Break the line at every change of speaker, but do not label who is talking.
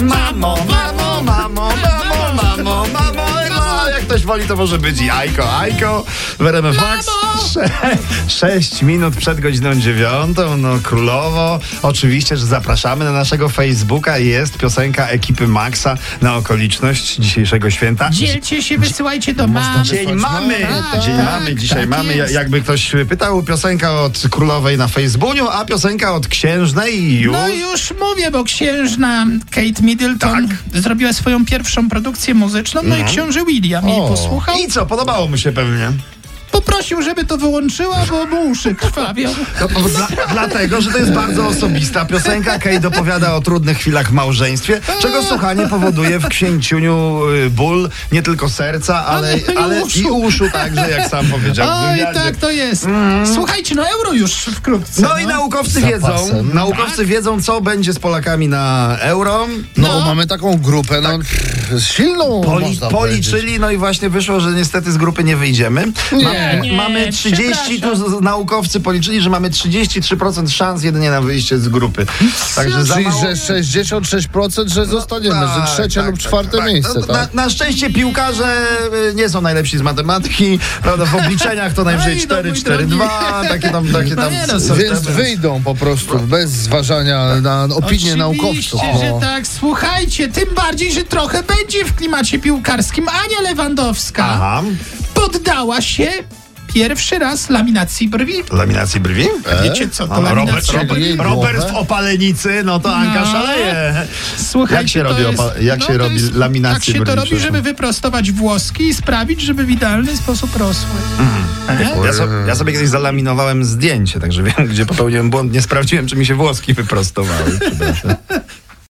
Mamo, mamo, mamo, mamo, mamo, mamo, mamo. No, Jak ktoś woli, to może być i Ajko, Ajko w RMF Max. Sze- Sześć minut przed godziną dziewiątą, no królowo. Oczywiście, że zapraszamy na naszego Facebooka. Jest piosenka ekipy Maxa na okoliczność dzisiejszego święta.
Dzielcie się, wysyłajcie do mamy.
Dzień mamy! Tak, Dzień mamy, dzisiaj
tak
mamy. Ja-
jest.
Jakby ktoś pytał, piosenka od królowej na Facebooku, a piosenka od księżnej już.
No już mówię, bo księżna Kate Middleton
Tak.
zrobiła swoją pierwszą produkcję muzyczną, no i książę William jej
Mhm. O,
posłuchał.
I co, podobało mu się pewnie.
Poprosił, żeby to wyłączyła, bo mu uszy krwawią.
No, bo dla, dlatego, że to jest bardzo osobista piosenka. Kate opowiada o trudnych chwilach w małżeństwie, czego słuchanie powoduje w księciuniu y, ból nie tylko
No
serca, ale,
Ale i
ale i
uszu.
uszu także, jak sam powiedział w
Oj,
wywiadzie.
tak to jest. Słuchajcie, no euro już wkrótce.
No i naukowcy wiedzą,
pasem.
naukowcy wiedzą, co będzie z Polakami na euro.
No,
No.
mamy taką grupę, no, pff, silną
Tak. Poli,
można powiedzieć.
policzyli, no i właśnie wyszło, że niestety z grupy nie wyjdziemy.
Nie.
Nie,
mamy 30, tu z- z- naukowcy policzyli, że mamy 33% szans jedynie na wyjście z grupy. Także za
Czyli,
mało.
że 66%, że zostaniemy,
Tak,
że trzecie
tak,
lub
tak,
czwarte
tak.
miejsce,
No,
tak?
Na, na szczęście piłkarze y, nie są najlepsi z matematyki, prawda? W obliczeniach to najwyżej
Ej, no,
4,
mój
4,
drogi.
2, takie tam, takie tam.
Nie, no, są
systemy.
Więc wyjdą po prostu bez zważania na opinie
Oczywiście,
naukowców.
że
no.
tak. Słuchajcie, tym bardziej, że trochę będzie w klimacie piłkarskim. Ania Lewandowska
Aha,
poddała się pierwszy raz laminacji brwi.
laminacji brwi?
Wiecie co to
No, Robert,
laminacja
Robert,
brwi?
Jej
Robert w
głowę.
opalenicy, no to Anka szaleje.
Słuchajcie,
Jak się
to
robi
jest- no,
opa- jak się
to
robi laminację
Tak się
brwi,
to robi,
przepraszam.
żeby wyprostować włoski i sprawić, żeby w idealny sposób rosły.
Ja, so, ja sobie kiedyś zalaminowałem zdjęcie, także wiem, gdzie popełniłem błąd. Nie sprawdziłem, czy mi się włoski wyprostowały.